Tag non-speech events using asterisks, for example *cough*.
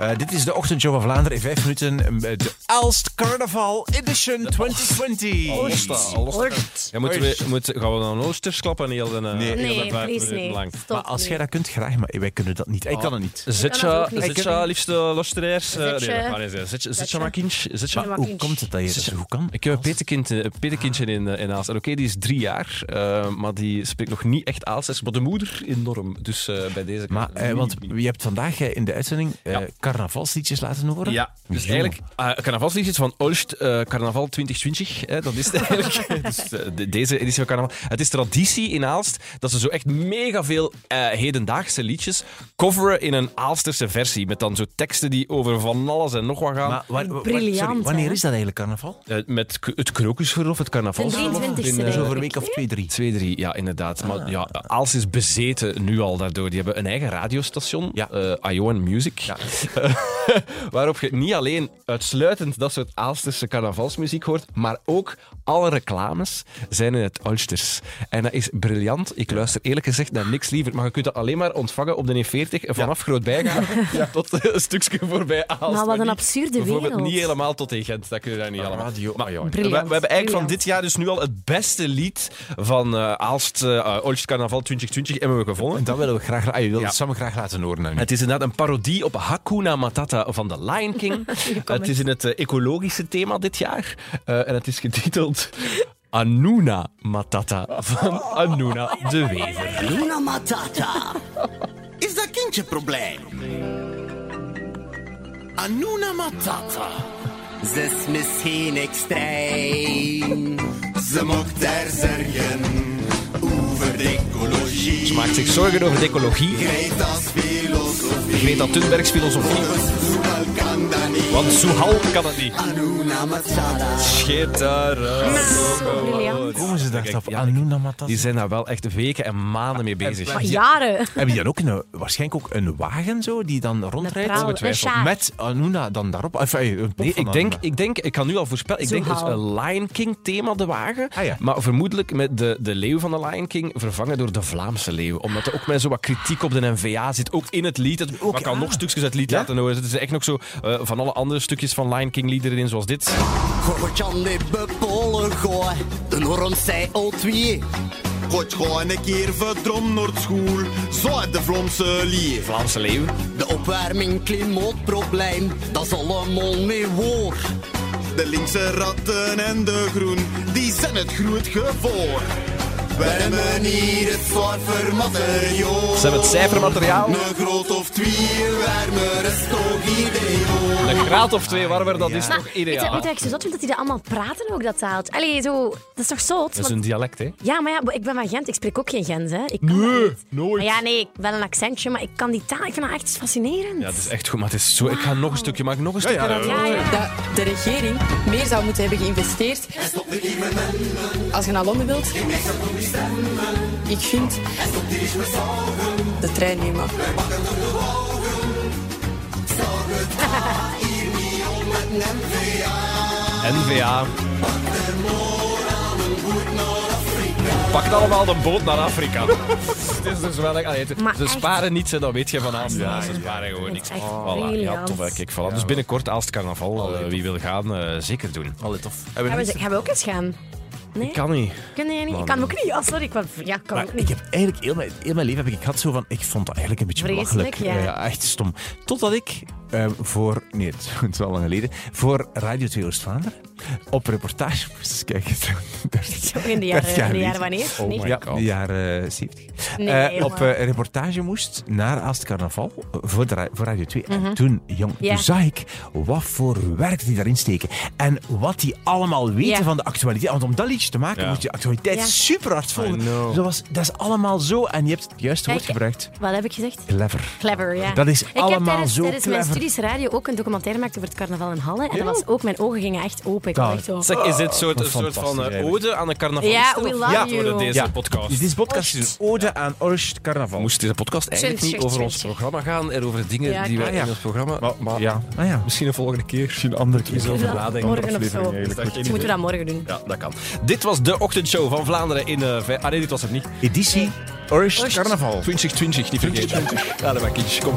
Eh, dit is de ochtendshow van Vlaanderen in vijf minuten. eh, De Aalst Carnaval Edition Oh. 2020. Ja, moeten we, moeten, gaan we dan oosters klappen en heel de, eh, Nee. heel de Nee, vijf please minuten nee. lang? Stop Maar als nu. jij dat kunt, graag. Maar wij kunnen dat niet. Dus, Ik kan het niet. Zet kan dat je, ook niet. zet je, liefste luisteraars. eh, Zet je- nee, dat mag niet zeggen. Zet je, zet je je- maar kindje. Zet je Maar- Hoe komt het dat je dat zo goed kan? Ik heb een petekind, eh, een petekindje in, eh, in Aalst. En oké, die is drie jaar, eh, maar die spreekt nog niet echt Aalst. Maar de moeder enorm. Dus eh, bij deze... Maar, eh, want je hebt vandaag eh, in de uitzending eh, Ja. carnavalsliedjes laten horen. Ja, dus Jongen. eigenlijk eh carnavalsliedjes van Olst eh, Carnaval 2020. Hè, dat is het *laughs* eigenlijk. dus, eh, de- deze editie van Carnaval. Het is traditie in Aalst dat ze zo echt mega veel eh, hedendaagse liedjes coveren in een Aalsterse versie. Met dan zo teksten die over van alles en nog wat gaan. Maar, waar- waar- Briljant, sorry, wanneer hè? is dat eigenlijk carnaval? Eh, met k- het krokusverlof, het carnavalsverlof. De 23e, in, denk Dus eh, over een week of twee, drie. 2, 3, ja, inderdaad. Ah. Maar ja, Aals is bezeten nu al daardoor. Die hebben een eigen radiostation, Ja. eh Ioan Music. *laughs* waarop je niet alleen uitsluitend dat soort Aalsterse carnavalsmuziek hoort, maar ook alle reclames zijn in het Ulsters. En dat is briljant. Ik luister eerlijk gezegd naar niks liever, maar je kunt dat alleen maar ontvangen op de N40 vanaf Groot *laughs* Bijgaan *laughs* tot een stukje voorbij Aalst. Maar wat een niet- absurde Bijvoorbeeld wereld. niet helemaal tot in Gent, dat kun je daar niet helemaal. radio, Maar ah, ja. we, we Briljant, hebben eigenlijk van briljant. dit jaar dus nu al het beste lied van eh, Aalst eh Olst Carnaval 2020 hebben we gevonden. En dat willen we graag, ah, je wilt Ja. het Sam graag laten horen. aan u. Het is inderdaad een parodie op Hakuna Matata van The Lion King. het is in het eh, ecologische thema dit jaar. Eh, en het is getiteld Anuna Matata van Anuna de Wever. Luna Matata. Is dat kindje probleem? Anuna Matata. Ze is misschien extreem. Ze mocht daar zeggen over de ecologie. Ze maakt zich zorgen over de ecologie. Greta's filosofie. Greta Thunbergs filosofie. Soepel kan dat niet. Want Soehal kan het niet. Anuna Matata. Schitterend. Zo Ah, eh, briljant. Komen ze daar Kijk, op "Ah, ja, aan? Noem dan maar dat. Die zijn daar wel echt weken en maanden mee bezig. Maar jaren. Hebben die dan ook een, waarschijnlijk ook een wagen zo, die dan rondrijdt? prauw, een sjaak. Met Anuna dan daarop? eh, Enfin, een pop Nee, van ik denk, Anuna. ik denk, ik kan nu al voorspellen, ik Zo denk dus haal. een Lion King thema de wagen. Ah, ja. Maar vermoedelijk met de, de leeuw van de Lion King vervangen door de Vlaamse leeuw. Omdat er ook met zo wat kritiek op de NVA zit, ook in het lied. Het, maar ik kan nog stukjes uit het lied laten horen. Het is echt nog zo eh, van alle andere stukjes van Lion King liederen in, zoals dit. Gooi kan niet bepolen, gooi. De norm CO2. Gooi gewoon een keer verdrom naar school. Zo uit de Vlaamse lief. Vlaamse leeuw. De opwarming, klimaatprobleem, dat is allemaal mee waar. De linkse ratten en de groen, die zijn het groot gevoor. We hebben hier het zwaar materiaal. Ze hebben het cijfermateriaal. Een groot of twee warmer is toch ideaal. Een graad of twee warmer, dat is toch Maar weet je, weet je ideaal. wat ik zo zot vind? Dat die dat allemaal praten ook, dat taalt. Allee, zo, dat is toch zot? Dat is Want- een dialect, hè? Ja, maar ja, ik ben van Gent. Ik spreek ook geen Gent, hè. Ik kan dat niet. Maar ja, nee, ik- wel een accentje, maar ik kan die taal. Ik vind dat echt fascinerend. Ja, dat is echt goed, maar het is zo... Ik ga nog een stukje maken, nog een stukje. laten Ja, ja. dat de regering meer zou moeten hebben geïnvesteerd. Als je naar Londen wilt, ik vind de trein nemen. NVA. Pak allemaal de boot naar Afrika. *laughs* het is dus wel echt- allee, het- Maar ze echt. sparen niets, hè, dat weet je van Aalst. Ja, ze sparen gewoon niks. echt Voilà, ja, briljant. tof, hè. Kijk, voilà. dus binnenkort Aalst Carnaval. eh, wie wil gaan, eh, zeker doen. Allee, tof. Hebben we Gaan nog we, iets? gaan we ook eens gaan? Nee? Kan niet. Kan jij niet? Ik kan ook niet. Oh, sorry. Ik kan, ja, kan ook Maar ik niet. heb eigenlijk heel mijn, heel mijn leven heb ik gehad zo van, ik vond dat eigenlijk een beetje Vreselijk, belachelijk. ja. echt stom. Totdat ik eh, voor, nee, *laughs* het, is wel lang geleden, voor Radio 2 Oost-Vlaanderen op reportage moest eens kijken. *laughs* Zo, *laughs* in de Dat jaren, gaat niet. in de Oh jaren wanneer? Nee. ja, de jaren 70. Nee, Eh, helemaal. op eh, reportage moest naar Aalst Carnaval eh, voor, de ra- voor Radio 2. En toen, jong, Mhm. Ja. toen zag ik wat voor werk die daarin steken. En wat die allemaal weten Ja. van de actualiteit. Want om dat liedje te maken, Ja. moet je actualiteit Ja. super hard volgen. Dus I know. Dat, was, dat is allemaal zo. En je hebt het juiste woord Kijk, gebruikt. Wat heb ik gezegd? Clever. Clever, ja. Dat is ik allemaal heb tijdens, zo tijdens mijn clever. studies radio ook een documentaire gemaakt over het carnaval in Halle. En dat was ook, mijn ogen gingen echt open. Ik was Dat- echt zo... Zeg, is dit soort, een Wat soort van fantastisch, eh, eigenlijk. ode aan de carnaval? Ja, we love you. worden deze Ja. Dus podcast? dit is podcast is een ode aan Orst Carnaval. Moest deze podcast eigenlijk Tjent, niet tjent, over ons tjent. programma gaan en over dingen Ja, die wij ah, ja. in ons programma... Maar- ja. Ah, ja. Misschien een volgende keer. Misschien een andere keer Moeten we dat morgen of zo. eigenlijk. Moeten we dat morgen doen? Ja, dat kan. Dit was de ochtendshow van Vlaanderen in... eh, Ve- ah nee, dit was het niet. Editie Orst Carnaval. 2020, niet vergeten. Ja, dat was kindjes. Kom.